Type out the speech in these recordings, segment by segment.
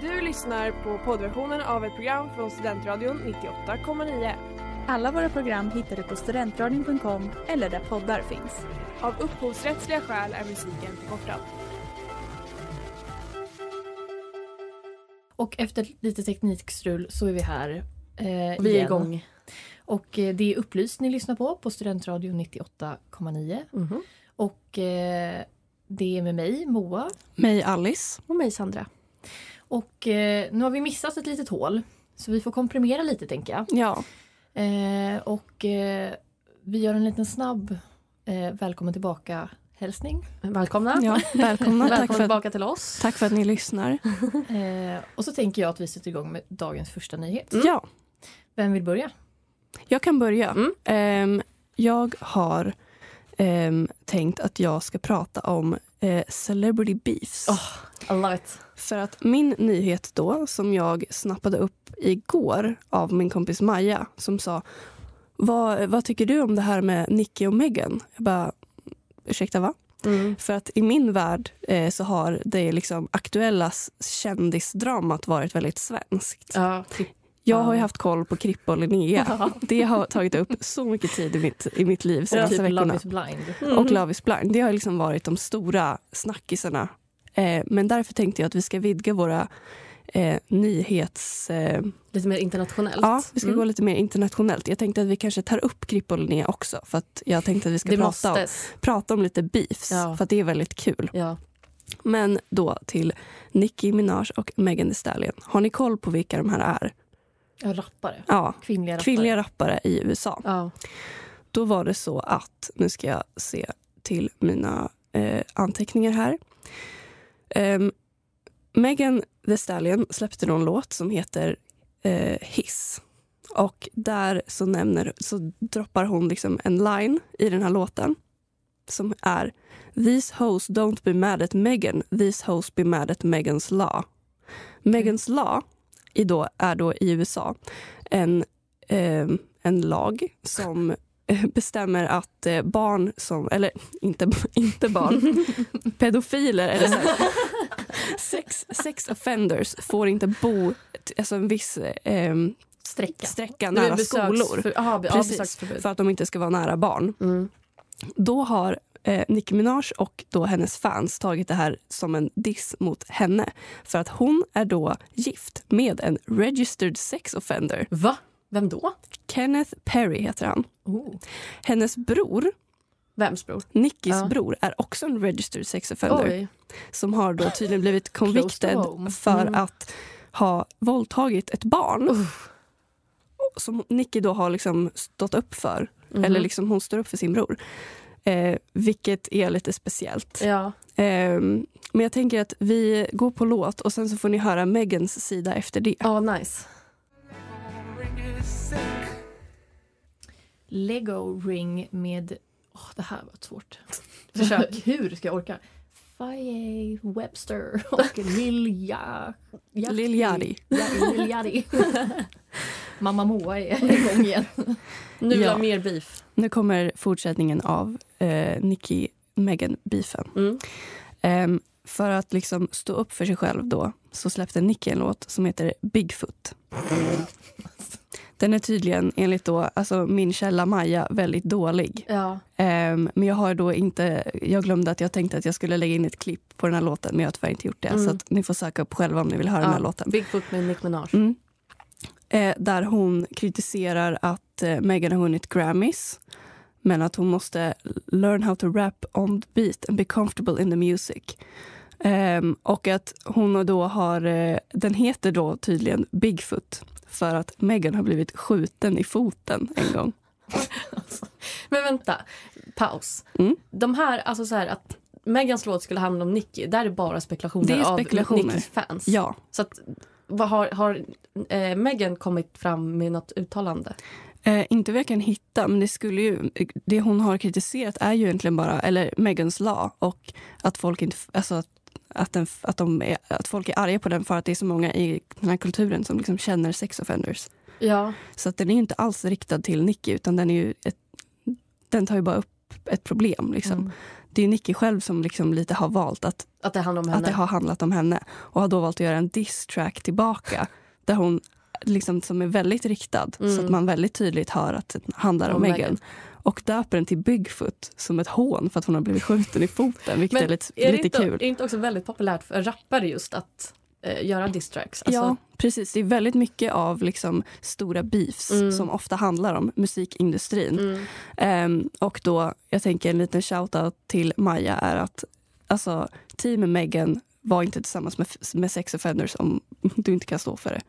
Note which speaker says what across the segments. Speaker 1: Du lyssnar på poddversionen av ett program från Studentradion 98,9.
Speaker 2: Alla våra program hittar du på studentradion.com eller där poddar finns.
Speaker 1: Av upphovsrättsliga skäl är musiken förkortad.
Speaker 3: Och efter lite teknikstrul så är vi här. Eh,
Speaker 4: Vi är
Speaker 3: igen.
Speaker 4: igång.
Speaker 3: Och eh, det är Upplyst ni lyssnar på, på Studentradion 98,9.
Speaker 4: Mhm.
Speaker 3: Och eh, det är med mig, Moa.
Speaker 5: Mig Alice.
Speaker 4: Och mig Sandra.
Speaker 3: Och eh, nu har vi missat ett litet hål. Så vi får komprimera lite tänker jag.
Speaker 5: Ja.
Speaker 3: Eh, och eh, vi gör en liten snabb eh, välkommen tillbaka-hälsning.
Speaker 4: Välkomna.
Speaker 5: ja. Välkomna.
Speaker 4: Välkomna
Speaker 5: tack, för att,
Speaker 4: tillbaka till oss. Mm.
Speaker 5: tack för att ni lyssnar.
Speaker 3: Eh, och så tänker jag att vi sätter igång med dagens första nyhet.
Speaker 5: Ja,
Speaker 3: Vem vill börja?
Speaker 5: jag kan börja.
Speaker 4: Mm.
Speaker 5: Ehm, jag har ehm, tänkt att jag ska prata om eh, celebrity beefs.
Speaker 4: Åh. I love it.
Speaker 5: För att min nyhet då, som jag snappade upp igår av min kompis Maja som sa vad, vad tycker du om det här med Nicki och Meghan? Jag bara, ursäkta va?
Speaker 4: Mm.
Speaker 5: För att i min värld eh, så har det liksom aktuella s- kändisdramat varit väldigt svenskt.
Speaker 4: Ja,
Speaker 5: Jag har ju
Speaker 4: Ja.
Speaker 5: haft koll på Krippa och Linnea. Det har tagit upp så mycket tid i mitt, i mitt liv
Speaker 3: Och
Speaker 5: senaste
Speaker 3: typ Love
Speaker 5: veckorna.
Speaker 3: is blind.
Speaker 4: Mm.
Speaker 5: Och Love is blind. Det har liksom varit de stora snackisarna. Eh, men därför tänkte jag att vi ska vidga våra eh, nyhets... Eh,
Speaker 4: lite mer internationellt.
Speaker 5: ja, vi ska
Speaker 4: Mm.
Speaker 5: gå lite mer internationellt. Jag tänkte att vi kanske tar upp Krippa och Linnea också. För att jag tänkte att vi ska
Speaker 4: Det
Speaker 5: prata om,
Speaker 4: måste.
Speaker 5: prata om lite beefs.
Speaker 4: Ja.
Speaker 5: För att det är väldigt kul.
Speaker 4: Ja.
Speaker 5: Men då till Nicki Minaj och Megan Thee Stallion. Har ni koll på vilka de här är?
Speaker 3: Ja, rappare.
Speaker 5: Ja,
Speaker 3: Kvinnliga rappare.
Speaker 5: kvinnliga rappare i USA.
Speaker 4: Ja.
Speaker 5: Då var det så att, nu ska jag se till mina eh, anteckningar här. Um, Megan Thee Stallion släppte någon låt som heter eh, Hiss. Och där så, nämner, så droppar hon liksom en line i den här låten som är These hoes don't be mad at Megan, these hoes be mad at Megans law. Megans law i då, är då i USA en, ehm, en lag som eh, bestämmer att eh, barn som, eller inte, inte barn, pedofiler eller så här, sex, sex offenders får inte bo t- alltså en viss ehm,
Speaker 3: Sträcka.
Speaker 5: sträcka
Speaker 4: Det är
Speaker 5: nära skolor
Speaker 4: besöksför- Ja, be- ja,
Speaker 5: Precis.
Speaker 4: besöksförbud.
Speaker 5: för att de inte ska vara nära barn.
Speaker 4: Mm.
Speaker 5: Då har eh, Nicki Minaj och då hennes fans tagit det här som en diss mot henne för att hon är då gift med en registered sex offender.
Speaker 4: Va? Vem då?
Speaker 5: Kenneth Perry heter han.
Speaker 3: Oh.
Speaker 5: Hennes bror,
Speaker 4: Vems bror?
Speaker 5: Nickis
Speaker 4: Ja.
Speaker 5: bror, är också en registered sex offender
Speaker 4: Oj.
Speaker 5: som har då tydligen blivit
Speaker 3: Close to
Speaker 5: convicted
Speaker 3: home. Mm.
Speaker 5: för att ha våldtagit ett barn som Nicky då har liksom stått upp för.
Speaker 3: Mhm.
Speaker 5: Eller liksom hon står upp för sin bror. Eh, vilket är lite speciellt.
Speaker 4: Ja.
Speaker 5: Ehm, men jag tänker att vi går på låt och sen så får ni höra Megans sida efter det.
Speaker 4: Ja, nice.
Speaker 3: Lego ring med... Åh, det här var svårt. Försök. Hur ska jag orka? Faye Webster och Lilja... Ja-
Speaker 5: Lil Yachty.
Speaker 3: Ja, Liljari. Mamma Moa är igång igen.
Speaker 4: Nu vill
Speaker 5: Ja.
Speaker 4: jag ha mer beef.
Speaker 5: Nu kommer fortsättningen av eh, Nicky Megan beefen.
Speaker 4: Mm.
Speaker 5: Ehm, för att liksom stå upp för sig själv då så släppte Nicky en låt som heter Bigfoot. Den är tydligen enligt då, alltså min källa Maja väldigt dålig.
Speaker 4: Ja.
Speaker 5: Ehm, men jag har då inte, jag glömde att jag tänkte att jag skulle lägga in ett klipp på den här låten men jag har tyvärr inte gjort det
Speaker 4: Mm.
Speaker 5: så att ni får söka upp själva om ni vill höra den här
Speaker 4: Ja.
Speaker 5: låten.
Speaker 4: Bigfoot med Nick Minaj.
Speaker 5: Mm. Eh, där hon kritiserar att eh, Megan har vunnit Grammys men att hon måste learn how to rap on the beat and be comfortable in the music. Ehm, och att hon då har, eh, den heter då tydligen Bigfoot för att Megan har blivit skjuten i foten en gång.
Speaker 4: Men vänta, paus.
Speaker 5: Mm.
Speaker 4: De här, alltså så här att Megans låt skulle handla om Nicky, där är bara spekulationer,
Speaker 5: Det är spekulationer.
Speaker 4: av Nickys fans.
Speaker 5: Ja,
Speaker 4: Så att, vad har, har eh, Megan kommit fram med något uttalande?
Speaker 5: eh, inte vad jag kan hitta men det skulle ju, det hon har kritiserat är ju egentligen bara, eller Megans lag och att folk inte, alltså att att, den, att, de är, att folk är arga på den för att det är så många i den här kulturen som liksom känner sex offenders.
Speaker 4: Ja.
Speaker 5: Så att den är ju inte alls riktad till Nicky utan den är ju ett, den tar ju bara upp ett problem liksom.
Speaker 3: Mm.
Speaker 5: Det det är Nicki själv som liksom lite har valt att
Speaker 4: Att det handlar om henne.
Speaker 5: att det har handlat om henne och har då valt att göra en diss-track tillbaka där hon liksom, som är väldigt riktad så
Speaker 4: Mm.
Speaker 5: att man väldigt tydligt hör att det handlar om,
Speaker 4: Om
Speaker 5: Meghan.
Speaker 4: Meghan.
Speaker 5: Och döper den till Bigfoot som ett hån för att hon har blivit skjuten i foten vilket
Speaker 4: Men
Speaker 5: är lite,
Speaker 4: är det
Speaker 5: lite
Speaker 4: inte, Är
Speaker 5: kul.
Speaker 4: det inte också väldigt populärt för rappare just att eh, göra Alltså, distracks?
Speaker 5: ja, precis. Det är väldigt mycket av liksom, stora beefs som ofta handlar om musikindustrin. Ehm, och då, jag tänker en liten shout-out till Maja är att alltså, team Meghan var inte tillsammans med, med sex offenders om du inte kan stå för det.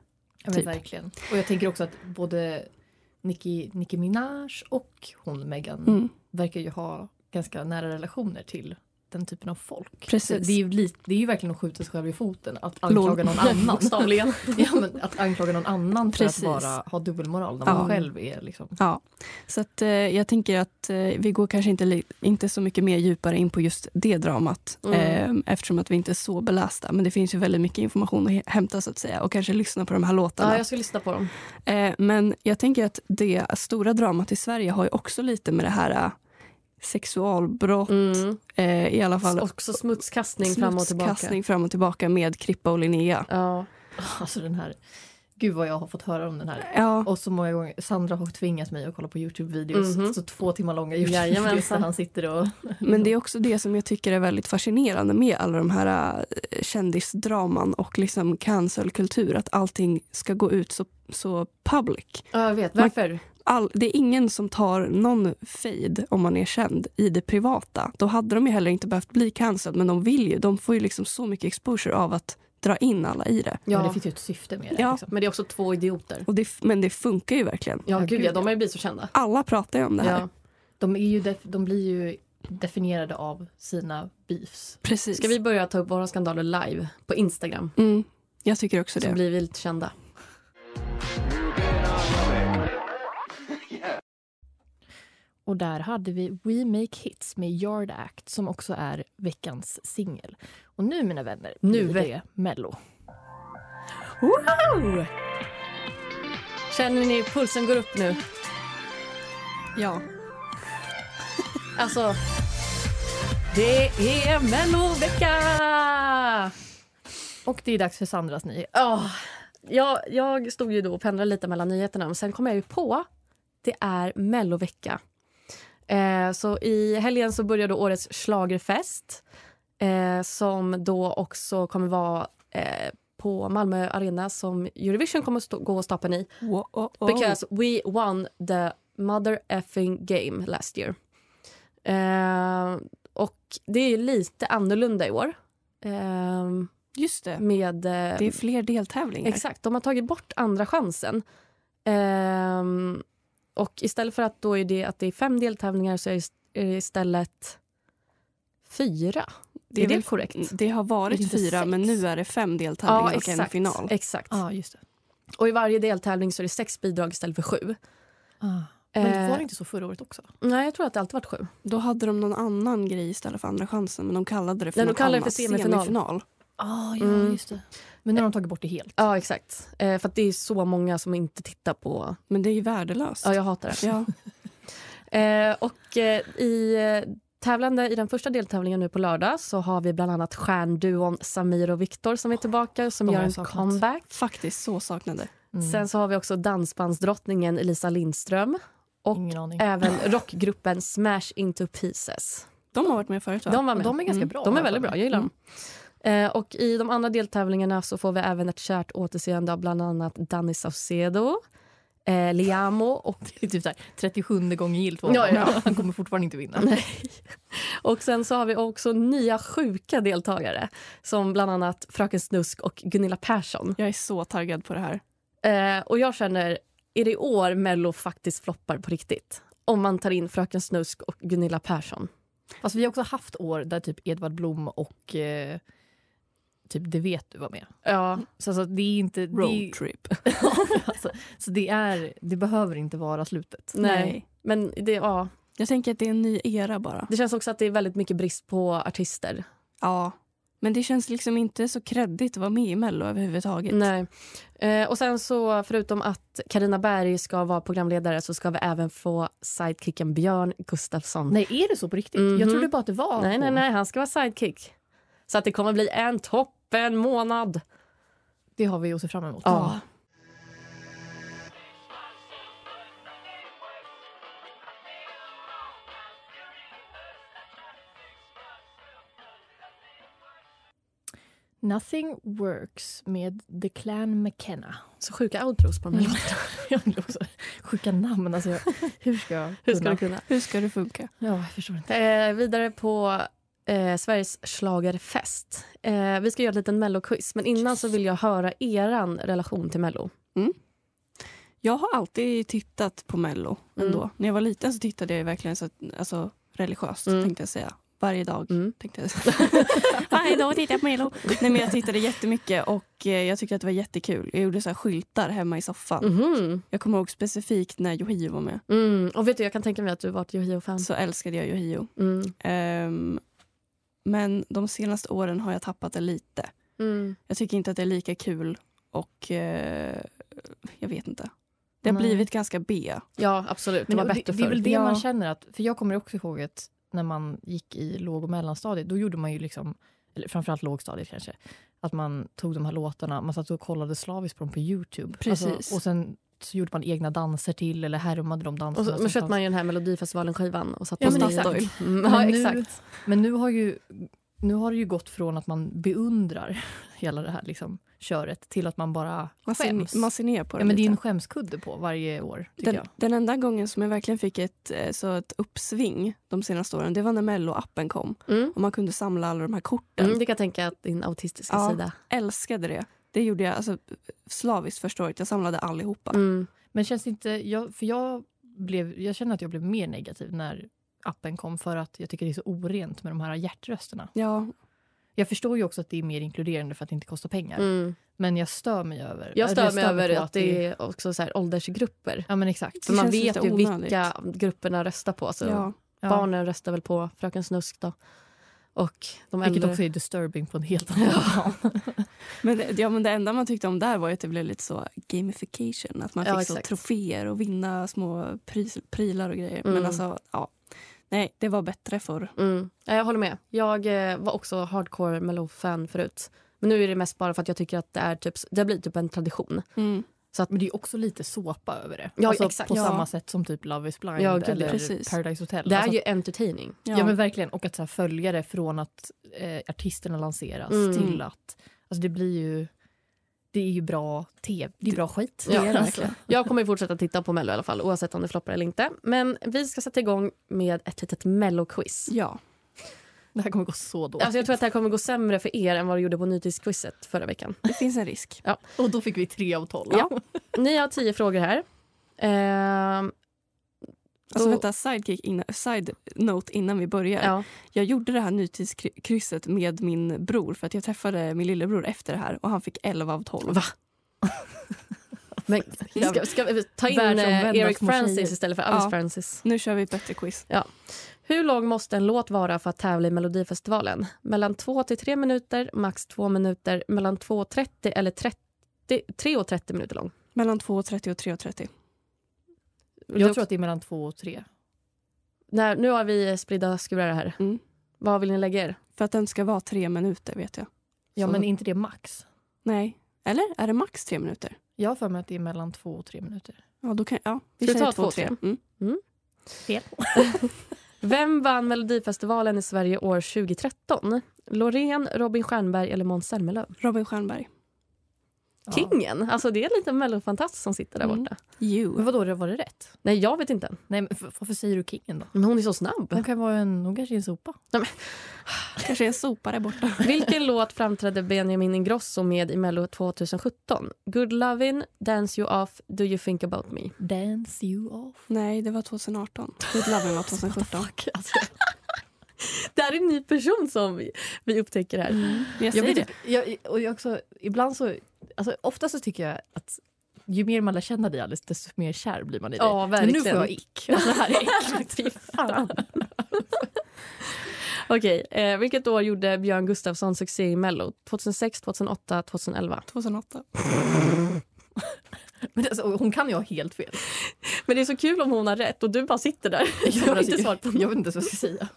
Speaker 3: Ja, men
Speaker 5: Typ.
Speaker 3: Verkligen. Och jag tänker också att både Nicki, Nicki Minaj och hon Megan
Speaker 5: Mm.
Speaker 3: verkar ju ha ganska nära relationer till den typen av folk.
Speaker 5: Precis.
Speaker 3: Så Det är ju, lite, det är ju verkligen att skjuta sig själv i foten att anklaga någon annan.
Speaker 4: Bokstavligen.
Speaker 3: ja, men att anklaga någon annan för
Speaker 5: Precis.
Speaker 3: att vara, ha dubbelmoral när man
Speaker 5: Ja.
Speaker 3: själv är liksom...
Speaker 5: Ja, så att, eh, jag tänker att eh, vi går kanske inte, li- inte så mycket mer djupare in på just det dramat eh, eftersom att vi inte är så belästa. Men det finns ju väldigt mycket information att he- hämta så att säga och kanske lyssna på de här låtarna.
Speaker 4: Ja, jag ska lyssna på dem.
Speaker 5: eh, men jag tänker att det stora dramat i Sverige har ju också lite med det här eh, sexualbrott, eh, i alla fall
Speaker 4: Också smutskastning Mm. fram och tillbaka.
Speaker 5: smutskastning fram och tillbaka med Krippa och Linnea.
Speaker 4: Ja.
Speaker 3: Alltså den här... Gud vad jag har fått höra om den här.
Speaker 5: Ja,
Speaker 3: Och så många gånger, Sandra har tvingat mig att kolla på Youtube-videos,
Speaker 4: Mhm.
Speaker 3: så två timmar långa Youtube-videos där
Speaker 4: Jajamensan.
Speaker 3: han sitter och
Speaker 5: Men det är också det som jag tycker är väldigt fascinerande med alla de här eh, kändisdraman och liksom cancelkultur, att allting ska gå ut så, så public.
Speaker 4: ja, jag vet. Varför?
Speaker 5: All, det är ingen som tar någon fade om man är känd i det privata. Då hade de ju heller inte behövt bli cancelled, men de vill ju. De får ju liksom så mycket exposure av att dra in alla i det.
Speaker 3: Ja.
Speaker 4: Ja.
Speaker 3: Men det finns ju ett syfte med det.
Speaker 5: Ja.
Speaker 3: Liksom.
Speaker 4: Men det är också två idioter.
Speaker 5: Och det f- men det funkar ju verkligen.
Speaker 4: Ja,
Speaker 3: Ja,
Speaker 4: gud
Speaker 3: gud,
Speaker 4: ja, de har ju blivit så kända.
Speaker 5: Alla pratar ju om det här.
Speaker 4: Ja.
Speaker 3: De, är ju def- de blir ju definierade av sina beefs.
Speaker 5: Precis.
Speaker 4: Ska vi börja ta upp våra skandaler live på Instagram?
Speaker 5: Mm, jag tycker också
Speaker 4: Så
Speaker 5: det.
Speaker 4: blir vi lite kända.
Speaker 3: Och där hade vi We Make Hits med Yard Act som också är veckans singel. Och nu mina vänner,
Speaker 4: Nu
Speaker 3: blir
Speaker 4: vä-
Speaker 3: det Mello.
Speaker 4: Känner ni pulsen går upp nu?
Speaker 5: Ja.
Speaker 4: Alltså... Det är Mellovecka!
Speaker 3: Och det är dags för Sandras nyhet.
Speaker 4: Ja, jag, jag stod ju då och pendlade lite mellan nyheterna, men sen kom jag ju på det är Mellovecka. Eh, så i helgen så började årets schlagerfest eh, som då också kommer vara eh, på Malmö Arena som Eurovision kommer stå, gå och stapeln i.
Speaker 5: Wo- oh, oh.
Speaker 4: Because we won the mother effing game last year. Eh, och det är ju lite annorlunda i år. Eh,
Speaker 5: Just det.
Speaker 4: med... eh,
Speaker 5: Det är fler deltävlingar.
Speaker 4: Exakt, de har tagit bort andra chansen. Ehm, och istället för att då är det att det är fem deltävlingar så är det ist- är det istället fyra.
Speaker 5: Det
Speaker 4: Det
Speaker 5: är
Speaker 4: är,
Speaker 5: väl-
Speaker 4: det korrekt?
Speaker 5: Det har
Speaker 4: Det är
Speaker 5: varit
Speaker 4: inte
Speaker 5: fyra,
Speaker 4: sex.
Speaker 5: men nu är det fem deltävlingar och en final.
Speaker 4: exakt.
Speaker 3: Ja, ah, just det.
Speaker 4: Och i varje deltävling så är det sex bidrag istället för sju.
Speaker 3: Ah. Men
Speaker 4: Eh,
Speaker 3: var det inte så förra året också?
Speaker 4: Nej, jag tror att det alltid varit sju.
Speaker 5: Då hade de någon annan grej istället för Andra chansen, men de kallade det för
Speaker 4: Nej, de
Speaker 5: något
Speaker 4: kallade det
Speaker 5: annat.
Speaker 4: för semifinal.
Speaker 3: Ah,
Speaker 4: ja,
Speaker 3: just det. Men nu har de tagit bort det helt.
Speaker 4: Ja, exakt. Eh, för att det är så många som inte tittar på...
Speaker 5: Men det är ju värdelöst.
Speaker 4: Ja, jag hatar det.
Speaker 5: Ja.
Speaker 4: Eh, och eh, i eh, tävlande i den första deltävlingen nu på lördag så har vi bland annat stjärnduon Samir och Viktor som är tillbaka som
Speaker 3: De
Speaker 4: gör
Speaker 3: har jag
Speaker 4: en
Speaker 3: saknat.
Speaker 4: comeback.
Speaker 5: faktiskt så saknade.
Speaker 3: Mm.
Speaker 4: Sen så har vi också dansbandsdrottningen Elisa Lindström. och eh,
Speaker 3: Ingen aning.
Speaker 4: Även rockgruppen Smash Into Pieces.
Speaker 5: De har varit med förut va?
Speaker 4: De var med. Mm.
Speaker 3: de är ganska bra,
Speaker 4: De
Speaker 3: har
Speaker 4: är
Speaker 3: jag
Speaker 4: väldigt
Speaker 3: för
Speaker 4: bra, jag gillar dem. Eh, och I de andra deltävlingarna så får vi även ett kärt återseende av bland annat Danny Saucedo, eh, Liamo och
Speaker 3: Det är typ så här, 37 gången gillt. var
Speaker 4: Ja,
Speaker 3: det.
Speaker 4: ja.
Speaker 3: Han kommer fortfarande inte vinna.
Speaker 4: Och sen så har vi också nya sjuka deltagare som bland annat Fröken Snusk och Gunilla Persson.
Speaker 5: Jag är så taggad på det här.
Speaker 4: Eh, och jag känner, är det i år Mello faktiskt floppar på riktigt? Om man tar in Fröken Snusk och Gunilla Persson.
Speaker 3: Fast vi har också haft år där typ Edvard Blom och eh, typ Det vet du var med.
Speaker 4: Ja,
Speaker 3: Så alltså, det är inte... Det,
Speaker 5: Roadtrip.
Speaker 3: alltså, så det, är, det behöver inte vara slutet.
Speaker 4: nej. Men det, ja,
Speaker 5: Jag tänker att det är en ny era bara.
Speaker 4: det känns också att det är väldigt mycket brist på artister.
Speaker 5: Ja. Men det känns liksom inte så kreddigt att vara med i Mello överhuvudtaget.
Speaker 4: Nej. Eh, och sen så, förutom att Karina Berg ska vara programledare så ska vi även få sidekicken Björn Gustafsson.
Speaker 3: Nej, är det så på riktigt?
Speaker 4: Mhm.
Speaker 3: Jag trodde bara att det var
Speaker 4: Nej, nej,
Speaker 3: hon.
Speaker 4: nej, han ska vara sidekick. Så att det kommer bli en toppen månad.
Speaker 3: Det har vi att se fram emot.
Speaker 4: Ja.
Speaker 3: Nothing Works med The Clan McKenna.
Speaker 4: Så sjuka outros på de här
Speaker 3: Mm.
Speaker 4: låtarna.
Speaker 3: Jag vill också sjuka namn. Alltså jag, hur ska jag
Speaker 4: Hur ska
Speaker 3: kunna?
Speaker 4: det kunna?
Speaker 5: Hur ska det funka?
Speaker 3: Ja, jag förstår inte.
Speaker 4: Eh, vidare på eh, Sveriges schlagerfest. Eh, vi ska göra ett litet melloquiz, men innan så vill jag höra eran relation till mello.
Speaker 5: Jag har alltid tittat på Mello ändå.
Speaker 4: Mm.
Speaker 5: När jag var liten så tittade jag verkligen så att, alltså, religiöst
Speaker 4: Mm.
Speaker 5: tänkte jag säga. Varje dag.
Speaker 4: Mm.
Speaker 5: Tänkte jag säga. Varje dag tittar jag på Mello. Nej, men jag tittade jättemycket och eh, jag tyckte att det var jättekul. Jag gjorde så här skyltar hemma i soffan.
Speaker 4: Mhm.
Speaker 5: Jag kommer ihåg specifikt när Yohio var med.
Speaker 4: Mm. Och vet du, jag kan tänka mig att du var ett
Speaker 3: Mm.
Speaker 4: Yohio-fan.
Speaker 5: Så älskade jag Yohio.
Speaker 4: Mm.
Speaker 5: Ehm, men de senaste åren har jag tappat det lite.
Speaker 4: Mm.
Speaker 5: Jag tycker inte att det är lika kul och eh, jag vet inte. Det har
Speaker 3: Nej.
Speaker 5: blivit ganska B.
Speaker 4: Ja, absolut.
Speaker 3: Men
Speaker 4: det
Speaker 3: det,
Speaker 4: var bättre
Speaker 3: det är väl
Speaker 4: förr.
Speaker 3: det
Speaker 5: Ja.
Speaker 3: man känner att, för jag kommer också ihåg att när man gick i låg och mellanstadiet, då gjorde man ju liksom, eller framförallt lågstadiet kanske, att man tog de här låtarna, man satt och kollade slaviskt på dem på Youtube. Alltså,
Speaker 5: Precis.
Speaker 3: och sen så gjorde man egna danser till eller härmade de danserna.
Speaker 4: Och så, men
Speaker 3: som
Speaker 4: köpte
Speaker 3: fanns.
Speaker 4: man ju den här Melodifestivalen-skivan och satt
Speaker 3: Ja,
Speaker 4: på
Speaker 3: men
Speaker 4: Statoil.
Speaker 3: exakt.
Speaker 4: Mm,
Speaker 3: Men
Speaker 4: ja,
Speaker 3: nu-
Speaker 4: exakt.
Speaker 3: Men nu har, ju, nu har det ju gått från att man beundrar hela det här liksom, köret till att man bara
Speaker 5: Man
Speaker 3: skäms.
Speaker 5: ser, man ser ner på det
Speaker 3: ja, men det är
Speaker 5: lite.
Speaker 3: en skämskudde på varje år, tycker
Speaker 5: den,
Speaker 3: jag.
Speaker 5: den enda gången som jag verkligen fick ett, eh, så ett uppsving de senaste åren det var när Mello-appen kom
Speaker 4: Mm.
Speaker 5: och man kunde samla alla de här korten.
Speaker 4: Mm, det kan jag tänka att din autistiska
Speaker 5: Ja.
Speaker 4: sida.
Speaker 5: Älskade det. Det gjorde jag alltså, slaviskt första året. Jag samlade allihopa.
Speaker 4: Mm.
Speaker 3: Men känns det inte... Jag, för jag, blev, jag känner att jag blev mer negativ när appen kom för att jag tycker det är så orent med de här hjärtrösterna.
Speaker 5: Ja,
Speaker 3: Jag förstår ju också att det är mer inkluderande för att det inte kostar pengar.
Speaker 4: Mm.
Speaker 3: Men jag stör mig över...
Speaker 4: Jag
Speaker 3: eller
Speaker 4: stör mig över
Speaker 3: på
Speaker 4: att det är också så här åldersgrupper.
Speaker 3: Ja, men exakt.
Speaker 4: För man
Speaker 5: känns
Speaker 4: vet
Speaker 5: lite
Speaker 4: ju
Speaker 5: onödigt.
Speaker 4: vilka grupperna röstar på. Så
Speaker 5: ja.
Speaker 3: Ja.
Speaker 4: Barnen röstar väl på Fröken Snusk då. Och de
Speaker 3: Vilket
Speaker 4: äldre.
Speaker 3: också är disturbing på en helt annan plan.
Speaker 5: Men det, ja, men det enda man tyckte om där var ju att det blev lite så gamification. Att man
Speaker 4: Ja,
Speaker 5: fick så
Speaker 4: exakt.
Speaker 5: troféer och vinna små pris, prylar och grejer. Men
Speaker 4: Mm.
Speaker 5: alltså, ja. Nej, det var bättre förr.
Speaker 4: Mm. Ja, Jag håller med. Jag eh, var också hardcore Mello-fan förut. Men nu är det mest bara för att jag tycker att det, är typ, det blir typ en tradition.
Speaker 3: Men det är också lite såpa över det.
Speaker 4: Ja,
Speaker 3: alltså,
Speaker 4: exakt.
Speaker 3: På
Speaker 5: Ja.
Speaker 3: samma sätt som typ Love is blind
Speaker 4: Ja, gud,
Speaker 3: eller
Speaker 5: precis.
Speaker 3: Paradise Hotel.
Speaker 4: Det är
Speaker 3: Alltså,
Speaker 4: ju entertaining.
Speaker 3: ja. men verkligen. Och att så här, följa det från att eh, artisterna lanseras
Speaker 4: Mm.
Speaker 3: till att... Alltså det blir ju... Det är ju bra tv. Det är bra skit.
Speaker 4: Ja,
Speaker 3: det är det
Speaker 4: verkligen. Jag kommer ju fortsätta titta på Mello i alla fall, oavsett om det floppar eller inte. Men vi ska sätta igång med ett litet Mello-quiz.
Speaker 5: ja.
Speaker 3: Det här kommer gå så dåligt.
Speaker 4: Alltså jag tror att det här kommer gå sämre för er än vad det gjorde på nytidsquizet förra veckan.
Speaker 5: det finns en risk.
Speaker 3: Och då fick vi tre av tolv.
Speaker 4: Ja. Ni har tio frågor här. Ehm,
Speaker 5: Alltså
Speaker 4: Då-
Speaker 5: vänta, sidekick inna, side note innan vi börjar.
Speaker 4: ja.
Speaker 5: Jag gjorde det här nytidskrysset med min bror för att jag träffade min lillebror efter det här och han fick 11 av 12.
Speaker 4: Va? Men ska, ska vi ta in eh,
Speaker 3: Världsomvända
Speaker 4: Eric
Speaker 3: små
Speaker 4: Francis
Speaker 3: tjejer.
Speaker 4: istället för Alice
Speaker 5: Ja.
Speaker 4: Francis?
Speaker 5: Nu kör vi ett bättre quiz.
Speaker 4: Hur lång måste en låt vara för att tävla i Melodifestivalen? Mellan 2 till 3 minuter, max 2 minuter, mellan 2.30 eller 30, 3 och 30 minuter lång?
Speaker 5: Mellan 2.30 och 3.30.
Speaker 3: Jag tror att det är mellan två och tre.
Speaker 4: Nej, nu har vi spridda skurar här.
Speaker 5: Mm.
Speaker 4: Vad vill ni lägga er?
Speaker 5: För att den ska vara tre minuter vet jag.
Speaker 3: Ja,
Speaker 4: Så-
Speaker 3: men är inte det max?
Speaker 5: Nej. Eller är det max tre minuter?
Speaker 3: Jag har för mig att det är mellan två och tre minuter.
Speaker 5: Ja, då kan, ja. Vi
Speaker 4: Ska vi
Speaker 5: kör
Speaker 4: ta
Speaker 5: två, tre.
Speaker 4: 2.30?
Speaker 5: Mm.
Speaker 3: Fel.
Speaker 4: Vem vann Melodifestivalen i Sverige år 2013? Loreen, Robin Stjernberg eller Måns Zelmerlöw?
Speaker 5: Robin Stjernberg.
Speaker 4: Kingen! Alltså det är en liten mellofantast som sitter där
Speaker 5: Mm.
Speaker 4: borta.
Speaker 5: You.
Speaker 3: Men vadå, var det rätt?
Speaker 4: Nej, jag vet inte. än.
Speaker 3: Nej, men f- varför säger du kingen då?
Speaker 4: Men hon är så snabb.
Speaker 3: Hon kan vara en, hon kanske är en sopa.
Speaker 5: Kanske en sopare borta.
Speaker 4: Vilken låt framträdde Benjamin Ingrosso med i Mello 2017? Good Lovin', Dance You Off, Do You Think About Me?
Speaker 3: Dance you off.
Speaker 5: Nej, det var 2018. Good Lovin' var 2017.
Speaker 4: Det här är en ny person som vi, vi upptäcker här.
Speaker 5: Men Mm. jag
Speaker 3: Jag
Speaker 5: säger
Speaker 3: blir
Speaker 5: det.
Speaker 3: typ, jag, och jag också, ibland så, alltså ofta så tycker jag att ju mer man lär känna dig Alice, desto mer kär blir man i dig.
Speaker 4: Ja,
Speaker 3: Men nu får
Speaker 4: verkligen.
Speaker 3: jag ick. Alltså, det här är äckligt.
Speaker 4: Fy fan. Okej, eh, vilket år gjorde Björn Gustafsson succé i Mello? 2006, 2008, 2011?
Speaker 5: 2008.
Speaker 3: Men alltså, hon kan ju ha helt fel.
Speaker 4: Men det är så kul om hon har rätt och du bara sitter där. Jag har inte svarat på
Speaker 3: jag vet inte ens vad jag ska säga.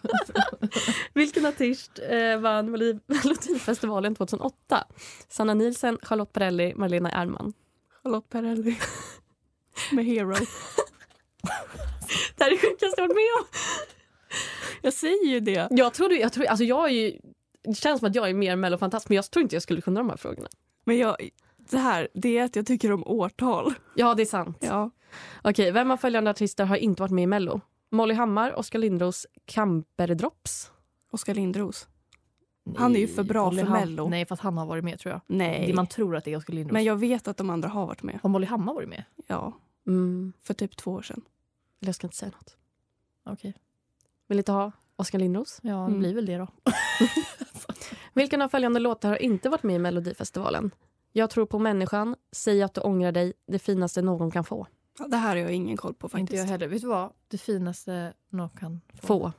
Speaker 4: Vilken artist eh, vann Melodi- Melodifestivalen 2008? Sanna Nielsen, Charlotte Perrelli, Marlena Ernman.
Speaker 5: Charlotte Perrelli. Med Hero.
Speaker 4: Det här är det sjukaste jag varit med om.
Speaker 5: Jag säger ju det.
Speaker 4: Jag tror, jag tror, alltså jag är ju, det känns som att jag är mer mellofantast men jag tror inte jag skulle kunna de här frågorna.
Speaker 5: Men jag, det här, det är att jag tycker om årtal.
Speaker 4: Ja, det är sant.
Speaker 5: Ja.
Speaker 4: Okej, vem av följande artister har inte varit med i Mello? Molly Hammar, Oskar Lindros, Kamperdrops.
Speaker 5: Oskar Lindros. Han är ju för bra
Speaker 3: Molly
Speaker 5: för
Speaker 3: Ham-
Speaker 5: Mello.
Speaker 3: Nej, för att han har varit med tror jag.
Speaker 5: Nej.
Speaker 3: Det man tror att det är Oskar Lindros.
Speaker 5: Men jag vet att de andra har varit med.
Speaker 3: Har Molly Hammar varit med?
Speaker 5: Ja,
Speaker 4: Mm,
Speaker 5: för typ två år sedan.
Speaker 4: jag ska inte säga något.
Speaker 3: Okej.
Speaker 4: Vill inte ha Oskar Lindros?
Speaker 3: Ja, det
Speaker 5: Mm.
Speaker 3: blir väl det då.
Speaker 4: Vilken av följande låtar har inte varit med i Melodifestivalen? Jag tror på människan, Säg att du ångrar dig, Det finaste någon kan få.
Speaker 5: Ja, det här har jag ingen koll på faktiskt.
Speaker 3: Inte jag heller. Vet du vad? Det finaste någon kan få.
Speaker 4: Få.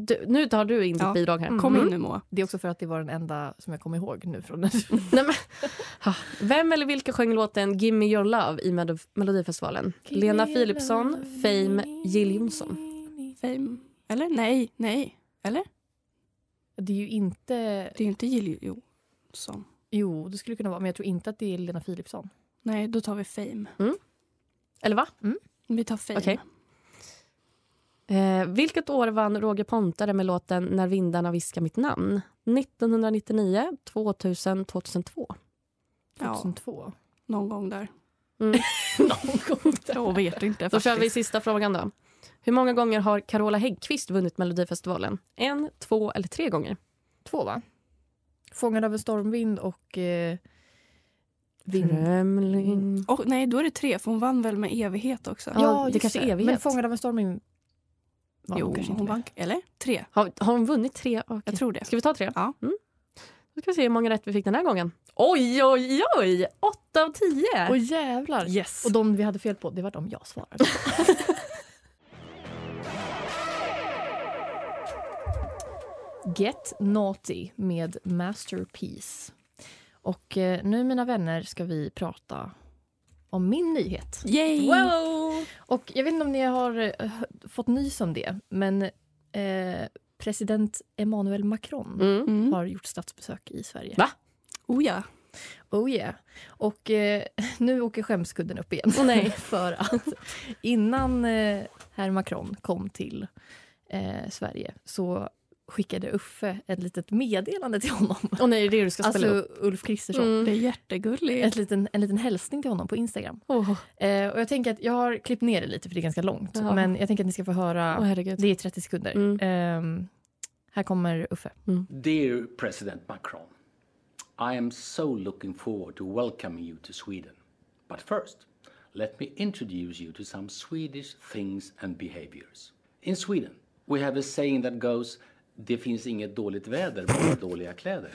Speaker 4: Du, nu tar du in ditt
Speaker 5: Ja. Mm.
Speaker 4: bidrag här.
Speaker 5: Kom in nu Moa.
Speaker 3: Det är också för att det var den enda som jag kom ihåg nu från den.
Speaker 4: Mm. Nej, men, ha. Vem eller vilka sjöng låten Gimme your love i Melo- Melodifestivalen? Lena Philipsson, Fame, Jill Johnson.
Speaker 5: Fame. Eller nej, nej. Eller?
Speaker 3: Det är ju inte...
Speaker 5: Det är ju inte Jill Johnson.
Speaker 3: Jo, det skulle kunna vara, men jag tror inte att det är Lena Philipsson.
Speaker 5: Nej, då tar vi Fame. Mm.
Speaker 4: Eller va?
Speaker 5: Vi tar Fame.
Speaker 4: Okej. Eh, vilket år vann Roger Pontare med låten När vindarna viskar mitt namn? 1999, 2000, 2002.
Speaker 5: Ja,
Speaker 3: 2002.
Speaker 5: någon gång där.
Speaker 3: Någon gång där.
Speaker 5: Jag vet inte
Speaker 4: Då kör vi
Speaker 5: faktiskt.
Speaker 4: sista frågan då. Hur många gånger har Carola Häggkvist vunnit Melodifestivalen? En, två eller tre gånger?
Speaker 3: Två, va? Fångad av en stormvind och... Eh, vind.
Speaker 4: Drömling.
Speaker 5: Och, nej, då är det tre, för hon vann väl med evighet också?
Speaker 4: Ja, det
Speaker 3: just
Speaker 4: kanske är evighet.
Speaker 3: Men Fångad av en stormvind... var
Speaker 5: jo,
Speaker 3: kanske inte
Speaker 5: hon
Speaker 3: med.
Speaker 5: vann. Eller? Tre.
Speaker 4: Har, har hon vunnit tre? Okej.
Speaker 5: Jag tror det.
Speaker 4: Ska vi ta tre?
Speaker 5: Ja.
Speaker 4: Mm. Då ska vi se hur många rätt vi fick den här gången. Oj, oj, oj! Åtta av tio!
Speaker 3: Åh jävlar!
Speaker 5: Yes.
Speaker 3: Och de vi hade fel på, det var de jag svarade. Get Naughty med Masterpiece. Och eh, nu mina vänner ska vi prata om min nyhet.
Speaker 5: Yay!
Speaker 4: Wow!
Speaker 3: Och jag vet inte om ni har eh, fått nys om det, men eh, president Emmanuel Macron
Speaker 4: Mm.
Speaker 5: Mm.
Speaker 3: har gjort statsbesök i Sverige.
Speaker 4: Va?
Speaker 5: Oh ja.
Speaker 3: Oh yeah. Och eh, nu åker skämskudden upp igen. För att innan eh, herr Macron kom till eh, Sverige så skickade Uffe ett litet meddelande till honom.
Speaker 4: Åh nej, det är det du ska spela upp.
Speaker 3: Alltså Ulf Kristersson.
Speaker 5: Det är
Speaker 4: Mm.
Speaker 5: jättegulligt.
Speaker 3: Ett liten, en liten hälsning till honom på Instagram.
Speaker 4: Åh,
Speaker 3: Eh, och jag tänker att jag har klippt ner det lite för det är ganska långt.
Speaker 4: Ja.
Speaker 3: Men jag tänker att ni ska få höra.
Speaker 4: åh, herregud.
Speaker 3: Det är 30 sekunder.
Speaker 4: Mm.
Speaker 3: Ehm, här kommer Uffe.
Speaker 6: Dear President Macron, I am so looking forward to welcoming you to Sweden. But first, let me introduce you to some Swedish things and behaviors. In Sweden, we have a saying that goes, Det finns inget dåligt väder, bara dåliga kläder.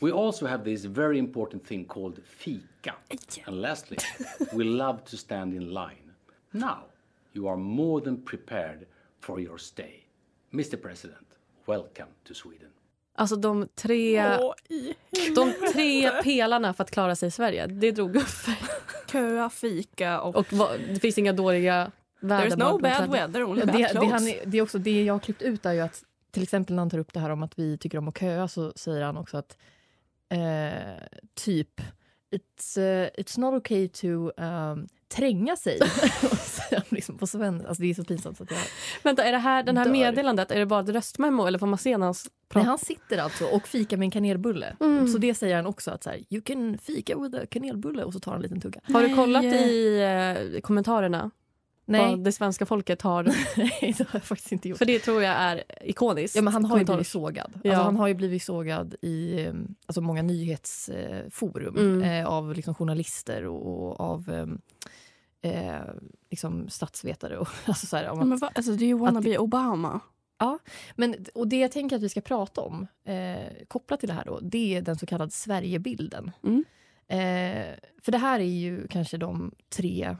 Speaker 6: We also have this very important thing called fika. And lastly, we love to stand in line. Now, you are more than prepared for your stay. Mr President, welcome to Sweden.
Speaker 4: Alltså de tre,
Speaker 5: Åh, i
Speaker 4: de tre pelarna för att klara sig i Sverige, det drog Uffe.
Speaker 5: köa, fika och...
Speaker 4: Och vad, det finns inga dåliga väder.
Speaker 5: There's
Speaker 4: bara
Speaker 5: no
Speaker 4: blåkläder.
Speaker 5: bad weather, only
Speaker 3: Det,
Speaker 5: bad
Speaker 3: det, han,
Speaker 5: clothes.
Speaker 3: är- det, är också, det jag har klippt ut är ju att till exempel när han tar upp det här om att vi tycker om att köa så säger han också att eh, typ it's, eh, it's not okay to um, tränga sig. Och säger han liksom på svenska. Alltså det är så pinsamt. Så att jag...
Speaker 4: Vänta, är det här, den här
Speaker 3: Dör.
Speaker 4: meddelandet, är det bara ett röstmemo eller får man se när han s-
Speaker 3: Nej,
Speaker 4: pratar?
Speaker 3: han sitter alltså och fikar med en kanelbulle. Så det säger han också att så här, you can fika with a kanelbulle och så tar han en liten tugga.
Speaker 4: Har du kollat i eh, kommentarerna
Speaker 3: Nej,
Speaker 4: vad det svenska folket har?
Speaker 3: nej, det har jag faktiskt inte gjort.
Speaker 4: För det tror jag är ikoniskt.
Speaker 3: Ja, men han har ju
Speaker 4: Kommentarer.
Speaker 3: blivit sågad.
Speaker 4: Ja.
Speaker 3: Alltså, han har ju blivit sågad i eh, alltså, många nyhetsforum
Speaker 4: Mm.
Speaker 3: eh, av liksom, journalister och, och av eh, eh, liksom, statsvetare. Och, alltså, så här, om
Speaker 5: Ja,
Speaker 3: att,
Speaker 5: men va? Alltså, det är ju wannabe Obama.
Speaker 3: men, och det jag tänker att vi ska prata om, eh, kopplat till det här, då, det är den så kallade Sverigebilden.
Speaker 5: Mm.
Speaker 3: Eh, för det här är ju kanske de tre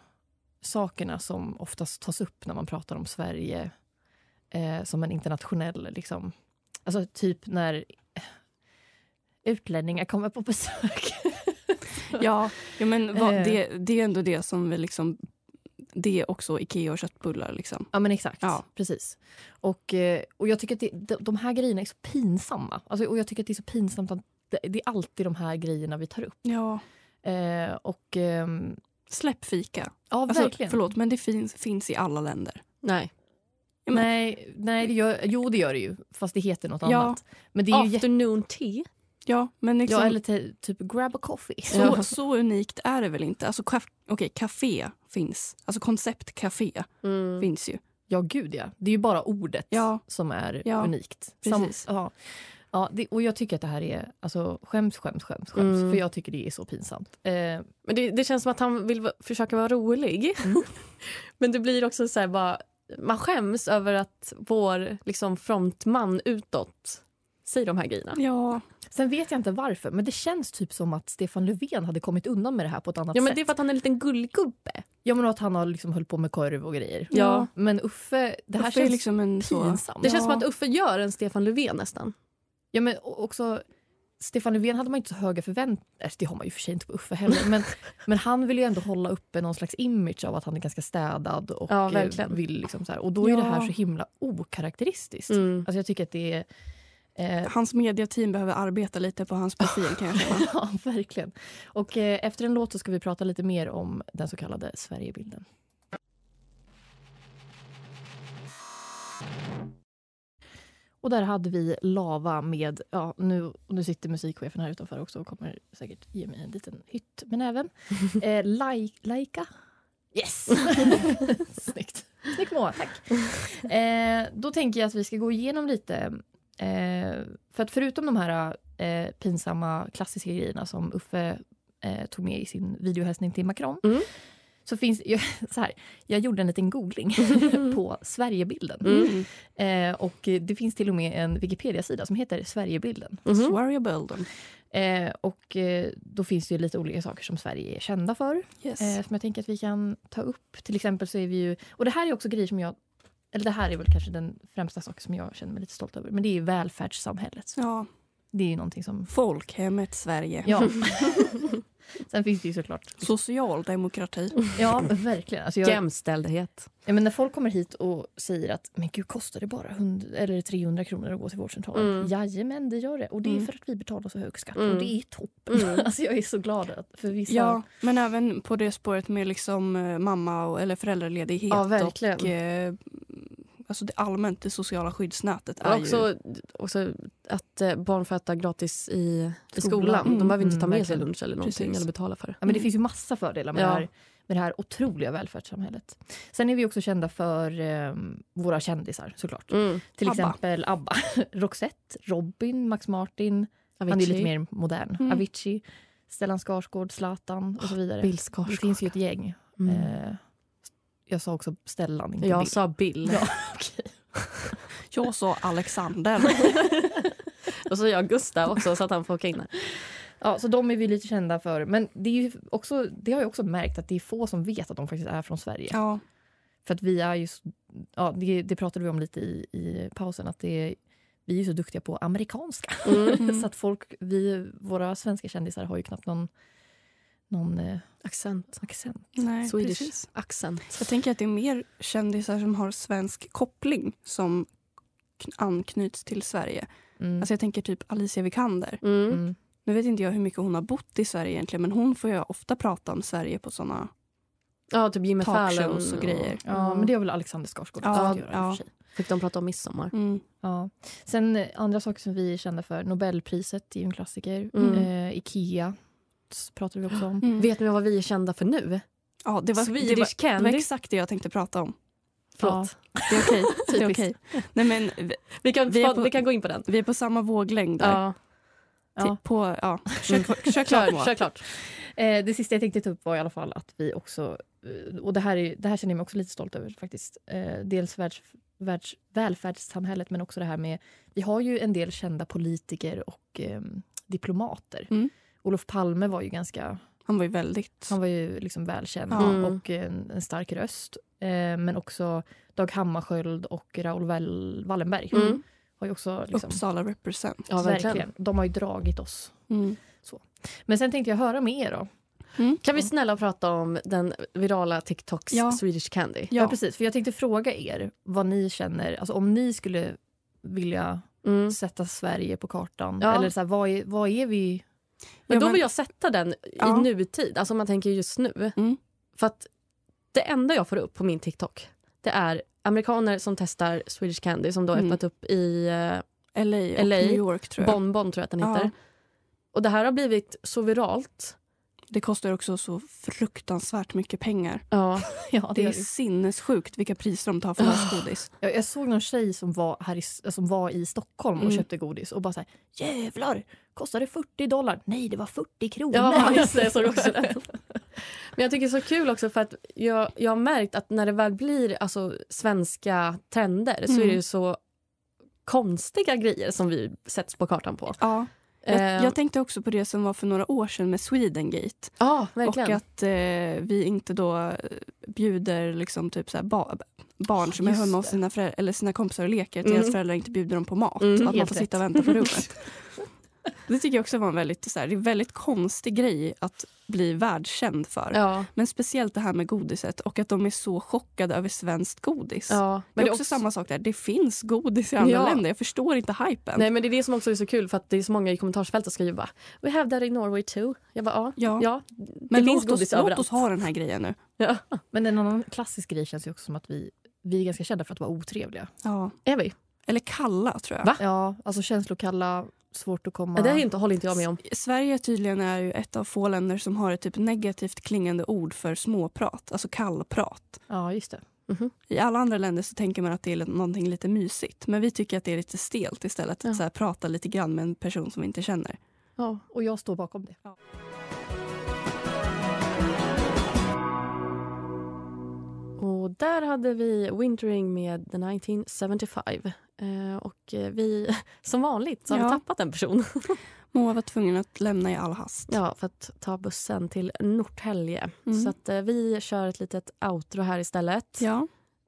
Speaker 3: sakerna som oftast tas upp när man pratar om Sverige eh, som en internationell liksom, Alltså typ när utlänningar kommer på besök.
Speaker 5: Ja, ja men vad,
Speaker 3: Eh.
Speaker 5: det, det är ändå det som vi liksom... Det är också Ikea och köttbullar. Liksom.
Speaker 3: Ja men exakt,
Speaker 5: Ja.
Speaker 3: precis. Och, eh, och jag tycker att det, de- de här grejerna är så pinsamma. Alltså, och jag tycker att det är så pinsamt att det, det är alltid de här grejerna vi tar upp.
Speaker 5: Ja.
Speaker 3: Eh, och ehm,
Speaker 5: Släpp fika.
Speaker 3: ja,
Speaker 5: Alltså,
Speaker 3: verkligen.
Speaker 5: förlåt, men det finns, finns i alla länder.
Speaker 4: Nej.
Speaker 3: Nej, nej det gör, jo det gör det ju, fast det heter något
Speaker 5: Ja.
Speaker 3: annat. Men det är ju jätte...
Speaker 4: Afternoon tea.
Speaker 5: Ja, men liksom,
Speaker 3: Ja, eller te- typ grab a coffee.
Speaker 5: så, så unikt är det väl inte? Alltså, kaf- okej, café finns. Alltså konceptcafé
Speaker 4: Mm.
Speaker 5: finns ju.
Speaker 3: Ja, gud ja. Det är ju bara ordet
Speaker 5: Ja.
Speaker 3: som är
Speaker 5: Ja,
Speaker 3: unikt.
Speaker 5: precis.
Speaker 3: ja. Ja, det, och jag tycker att det här är, alltså skäms, skäms, skäms, skäms.
Speaker 4: Mm.
Speaker 3: För jag tycker det är så pinsamt. Eh,
Speaker 4: Men det, det känns som att han vill va- försöka vara rolig.
Speaker 3: Mm.
Speaker 4: Men det blir också så här bara... Man skäms över att vår liksom, frontman utåt säger de här grejerna.
Speaker 3: Mm.
Speaker 5: Ja,
Speaker 3: sen vet jag inte varför, men det känns typ som att Stefan Löfven hade kommit undan med det här på ett annat
Speaker 4: Ja, men
Speaker 3: sätt.
Speaker 4: det är för att han är en liten gullgubbe.
Speaker 3: Ja, men att han har liksom höll på med korv och grejer.
Speaker 5: Ja.
Speaker 3: Men Uffe, det här
Speaker 5: Uffe är
Speaker 3: känns
Speaker 5: liksom en så...
Speaker 3: pinsamt.
Speaker 4: Det känns
Speaker 5: Ja.
Speaker 4: som att Uffe gör en Stefan Löfven nästan.
Speaker 3: Ja, men o- också Stefan Löfven hade man inte så höga förväntningar. Det har man ju för sig inte på Uffe heller. Men, men han vill ju ändå hålla uppe någon slags image av att han är ganska städad. Och,
Speaker 4: Ja,
Speaker 3: eh,
Speaker 4: verkligen.
Speaker 3: vill liksom så här. och då är
Speaker 5: Ja.
Speaker 3: det här så himla okaraktäristiskt.
Speaker 4: Mm.
Speaker 3: Alltså jag tycker att det är... Eh,
Speaker 5: Hans mediateam behöver arbeta lite på hans profil kan jag känna.
Speaker 3: ja, verkligen. Och eh, efter en låt så ska vi prata lite mer om den så kallade Sverigebilden. Och där hade vi Lava med, ja nu, nu sitter musikchefen här utanför också och kommer säkert ge mig en liten hytt men även eh, Lai- Laika. Yes! Snyggt. Snyggt Moa, tack. Eh, då tänker jag att vi ska gå igenom lite Eh, för att förutom de här eh, pinsamma klassiska grejerna som Uffe eh, tog med i sin videohälsning till Macron.
Speaker 4: Mm.
Speaker 3: Så finns jag, så här, jag gjorde en liten googling på Sverigebilden. Eh, och det finns till och med en Wikipedia-sida som heter Sverigebilden.
Speaker 5: Warrior
Speaker 3: Eh, och eh, då finns det ju lite olika saker som Sverige är kända för.
Speaker 5: Yes.
Speaker 3: Eh, som jag tänker att vi kan ta upp. Till exempel så är vi ju... Och det här är också grejer som jag... Eller det här är väl kanske den främsta saken som jag känner mig lite stolt över. Men det är ju välfärdssamhället.
Speaker 5: Ja,
Speaker 3: Det är ju någonting som...
Speaker 5: folkhemmet Sverige.
Speaker 3: Ja. Sen finns det ju såklart...
Speaker 5: Socialdemokrati.
Speaker 3: Ja, verkligen. Alltså jag,
Speaker 4: Jämställdhet.
Speaker 3: ja, men när folk kommer hit och säger att men gud, kostar det bara 100, eller 300 kronor att gå till vårdcentralen?
Speaker 4: Mm.
Speaker 3: Jajamän, det gör det. Och det är
Speaker 5: Mm.
Speaker 3: för att vi betalar så hög skatt.
Speaker 4: Mm.
Speaker 3: Och det är toppen.
Speaker 4: Mm.
Speaker 3: Alltså jag är så glad att- för vissa...
Speaker 5: Ja, men även på det spåret med liksom eh, mamma och, eller föräldraledighet
Speaker 4: Ja, verkligen.
Speaker 5: och eh, alltså det allmänt det sociala skyddsnätet är ju...
Speaker 4: Också, också att eh, barn får äta gratis i, i
Speaker 3: Skolan.
Speaker 4: skolan. De behöver inte
Speaker 3: Mm,
Speaker 4: ta med sig
Speaker 3: verkligen.
Speaker 4: lunch eller någonting
Speaker 5: Precis.
Speaker 4: eller betala för det.
Speaker 3: Ja, men det finns ju massa fördelar med,
Speaker 4: Ja.
Speaker 3: det här, med det här otroliga välfärdssamhället. Sen är vi också kända för eh, våra kändisar såklart.
Speaker 4: Mm.
Speaker 3: Till
Speaker 5: ABBA.
Speaker 3: exempel ABBA, Roxette, Robin, Max Martin. Han är lite
Speaker 4: typ
Speaker 3: mer modern.
Speaker 5: Mm.
Speaker 3: Avicii, Stellan Skarsgård, Zlatan och så vidare.
Speaker 4: Bill
Speaker 3: det
Speaker 4: Skarsgård.
Speaker 3: finns ju ett gäng.
Speaker 4: Mm.
Speaker 3: Eh, jag sa också Stellan, inte
Speaker 4: Jag
Speaker 3: Bill.
Speaker 4: sa Bill.
Speaker 3: Ja.
Speaker 5: Jag sa Alexander.
Speaker 4: Och så jag Gustav också så att han får åka in här.
Speaker 3: Ja, så de är vi lite kända för. Men det, är ju också, det har jag också märkt att det är få som vet att de faktiskt är från Sverige.
Speaker 5: ja,
Speaker 3: För att vi är ju... så- Ja, det, det pratade vi om lite i, i pausen. Att det, vi är ju så duktiga på amerikanska. så att folk, vi, våra svenska kändisar har ju knappt någon, någon eh,
Speaker 4: Accent.
Speaker 3: accent.
Speaker 5: nej,
Speaker 4: Swedish
Speaker 5: precis.
Speaker 4: accent.
Speaker 5: Jag tänker att det är mer kändisar som har svensk koppling som kn- anknyts till Sverige.
Speaker 3: Mm.
Speaker 5: Alltså jag tänker typ Alicia Vikander.
Speaker 4: Mm.
Speaker 3: mm.
Speaker 5: Nu vet inte jag hur mycket hon har bott i Sverige egentligen men hon får ju ofta prata om Sverige på såna
Speaker 4: Ja, typ Jimmy Fallon.
Speaker 5: talkshows och grejer.
Speaker 3: Ja,
Speaker 4: Mm.
Speaker 3: men det har väl Alexander Skarsgård
Speaker 5: Ja,
Speaker 3: också fått göra i och
Speaker 5: ja.
Speaker 3: för sig.
Speaker 4: Fick de prata om midsommar.
Speaker 5: Mm.
Speaker 3: Ja. Sen eh, andra saker som vi är kända för. Nobelpriset är ju en klassiker.
Speaker 4: Mm.
Speaker 3: Eh, Ikea s- pratar vi också om.
Speaker 5: Mm.
Speaker 4: Vet ni vad vi är kända för nu?
Speaker 5: Ja, det var, det, var,
Speaker 4: Swedish
Speaker 5: det var
Speaker 4: Candy.
Speaker 5: exakt det jag tänkte prata om.
Speaker 4: Förlåt.
Speaker 5: Det är okej. det är
Speaker 4: Typiskt.
Speaker 5: okej. Nej, men vi,
Speaker 4: Vi, kan,
Speaker 5: Vi är
Speaker 4: få-
Speaker 5: på-
Speaker 4: vi kan gå in på den.
Speaker 5: vi är på samma våglängd där.
Speaker 4: Ja.
Speaker 5: Ti-
Speaker 3: Ja.
Speaker 5: På, ja. Kör, kör klart
Speaker 4: Kör,
Speaker 5: Moa.
Speaker 4: kör klart.
Speaker 3: Eh, det sista jag tänkte ta upp var i alla fall att vi också... eh, Och det här, är, det här känner jag mig också lite stolt över faktiskt. Eh, dels världs, världs, välfärdssamhället men också det här med... Vi har ju en del kända politiker och eh, diplomater.
Speaker 5: Mm.
Speaker 3: Olof Palme var ju ganska...
Speaker 5: Han var ju väldigt...
Speaker 3: Han var ju liksom välkänd
Speaker 5: Ja.
Speaker 4: Mm.
Speaker 3: och en, en stark röst. Eh, men också Dag Hammarskjöld och Raoul Wall- Wallenberg
Speaker 4: Mm.
Speaker 3: har har ju också... Liksom,
Speaker 5: Uppsala represent.
Speaker 4: Ja, verkligen.
Speaker 3: verkligen. De har ju dragit oss.
Speaker 5: Mm.
Speaker 3: Men sen tänkte jag höra med er då.
Speaker 4: Kan vi snälla prata om den virala TikToks
Speaker 5: Ja.
Speaker 4: Swedish Candy?
Speaker 3: Ja. precis. För jag tänkte fråga er vad ni känner, alltså om ni skulle vilja
Speaker 4: Mm.
Speaker 3: sätta Sverige på kartan.
Speaker 4: Ja.
Speaker 3: Eller så här, vad, är, vad är vi?
Speaker 4: Men
Speaker 5: Ja,
Speaker 4: då
Speaker 5: men-
Speaker 4: vill jag sätta den
Speaker 5: Ja.
Speaker 4: i nutid, alltså om man tänker just nu.
Speaker 5: Mm.
Speaker 4: För att det enda jag får upp på min TikTok det är amerikaner som testar Swedish Candy som då har
Speaker 5: Mm.
Speaker 4: öppnat upp i eh,
Speaker 5: LA och
Speaker 4: LA,
Speaker 5: New York tror jag.
Speaker 4: Bonbon tror jag att den
Speaker 5: Ja.
Speaker 4: heter. Och det här har blivit så viralt.
Speaker 5: Det kostar också så fruktansvärt mycket pengar.
Speaker 4: Ja.
Speaker 3: Ja,
Speaker 5: Det är
Speaker 3: det.
Speaker 5: sinnessjukt vilka priser de tar för lösgodis.
Speaker 3: Jag, jag såg någon tjej som var, här i, som var i Stockholm och
Speaker 5: Mm.
Speaker 3: köpte godis och bara så här, jävlar, kostade 40 dollar? Nej, det var 40 kronor.
Speaker 4: Ja, just det. Jag såg också det. Men jag tycker det är så kul också för att jag, jag har märkt att när det väl blir alltså, svenska trender så
Speaker 5: Mm.
Speaker 4: är det ju så konstiga grejer som vi sätts på kartan på.
Speaker 5: Ja. Jag,
Speaker 4: Eh,
Speaker 5: jag tänkte också på det som var för några år sedan med Swedengate.
Speaker 4: Ja,
Speaker 5: Och
Speaker 4: verkligen.
Speaker 5: att eh, vi inte då eh, bjuder liksom typ så här ba- barn som är
Speaker 3: Just
Speaker 5: hemma hos
Speaker 3: det.
Speaker 5: sina, föräldrar, eller sina kompisar och leker till
Speaker 4: Mm.
Speaker 5: deras föräldrar inte bjuder dem på mat.
Speaker 4: Mm,
Speaker 5: att man
Speaker 3: helt
Speaker 5: får
Speaker 3: rätt.
Speaker 5: sitta och vänta på rummet. Det tycker jag också var en väldigt, så här, det är en väldigt konstig grej att bli världskänd för.
Speaker 4: Ja,
Speaker 5: Men speciellt det här med godiset och att de är så chockade över svenskt godis.
Speaker 4: ja.
Speaker 5: Men det är också, samma sak där. Det finns godis i andra
Speaker 4: Ja.
Speaker 5: länder. Jag förstår inte hypen.
Speaker 4: Nej, men det är det som också är så kul för att det är så många i kommentarsfältet som skriver bara “We have that in Norway too”. Jag bara ja.
Speaker 5: Ja.
Speaker 4: ja.
Speaker 5: men
Speaker 4: det
Speaker 5: låt,
Speaker 4: finns
Speaker 5: oss,
Speaker 4: godis
Speaker 5: låt
Speaker 4: överallt.
Speaker 5: oss ha den här grejen nu.
Speaker 4: ja.
Speaker 3: Men en annan klassisk grej känns ju också som att vi, vi är ganska kända för att vara otrevliga.
Speaker 5: Ja.
Speaker 4: Är vi?
Speaker 5: Eller kalla, tror jag.
Speaker 4: Va?
Speaker 3: Ja, alltså känslokalla, svårt att komma...
Speaker 4: Det här är inte, håller inte jag med om.
Speaker 5: Sverige tydligen är ju ett av få länder som har ett typ negativt klingande ord för småprat, alltså kallprat.
Speaker 3: Ja, just det.
Speaker 5: I alla andra länder så tänker man att det är li- någonting lite mysigt, men vi tycker att det är lite stelt istället att
Speaker 4: Ja.
Speaker 5: så här, prata lite grann med en person som vi inte känner.
Speaker 3: Ja, och jag står bakom det.
Speaker 4: Och där hade vi Wintering med The 1975. Eh, och eh, vi, som vanligt, så har
Speaker 5: Ja.
Speaker 4: vi tappat en person.
Speaker 5: Moa var tvungen att lämna i all hast.
Speaker 4: Ja, för att ta bussen till Norrtälje.
Speaker 5: Mm.
Speaker 4: Så att eh, vi kör ett litet outro här istället.
Speaker 5: Ja,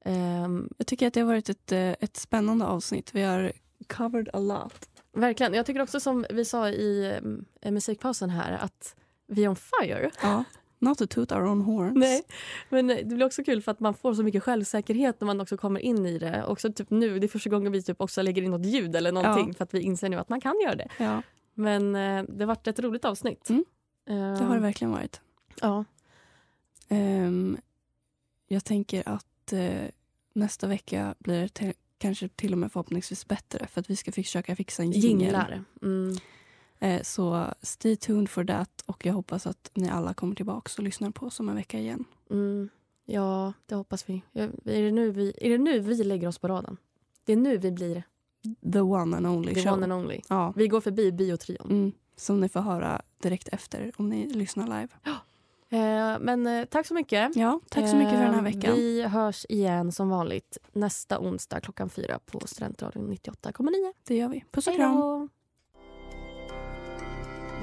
Speaker 4: Ehm,
Speaker 5: jag tycker att det har varit ett, eh, ett spännande avsnitt. Vi har covered a lot.
Speaker 4: verkligen. Jag tycker också som vi sa i eh, musikpausen här att vi är on fire.
Speaker 5: Ja, not to toot our own horns.
Speaker 4: Nej, men eh, det blir också kul för att man får så mycket självsäkerhet när man också kommer in i det. Också typ nu, det är första gången vi typ också lägger in något ljud eller någonting för att vi inser nu att man kan göra det.
Speaker 5: Ja,
Speaker 4: Men eh, det vart ett roligt avsnitt.
Speaker 5: Mm.
Speaker 4: Eh,
Speaker 5: det har det verkligen varit.
Speaker 4: Ja.
Speaker 5: Ehm, jag tänker att eh, nästa vecka blir det te- kanske till och med förhoppningsvis bättre för att vi ska försöka fixa en jingel.
Speaker 4: Jinglar. Mm.
Speaker 5: Eh, så stay tuned for that och jag hoppas att ni alla kommer tillbaka och lyssnar på oss om en vecka igen.
Speaker 4: Mm. Ja, det hoppas vi. Ja, Är det, nu vi. är det nu vi lägger oss på raden? Det är nu vi blir
Speaker 5: The one and only
Speaker 4: the
Speaker 5: show.
Speaker 4: one and only.
Speaker 5: ja.
Speaker 4: Vi går förbi biotrion.
Speaker 5: mm, som ni får höra direkt efter om ni lyssnar live. Mm.
Speaker 4: Eh, men eh, tack så mycket.
Speaker 5: Ja, tack så mycket för den här
Speaker 4: Eh,
Speaker 5: veckan.
Speaker 4: Vi hörs igen som vanligt nästa onsdag klockan fyra på Studentradion 98,9.
Speaker 5: Det gör vi. Puss och
Speaker 4: Hej
Speaker 5: kram.
Speaker 4: då!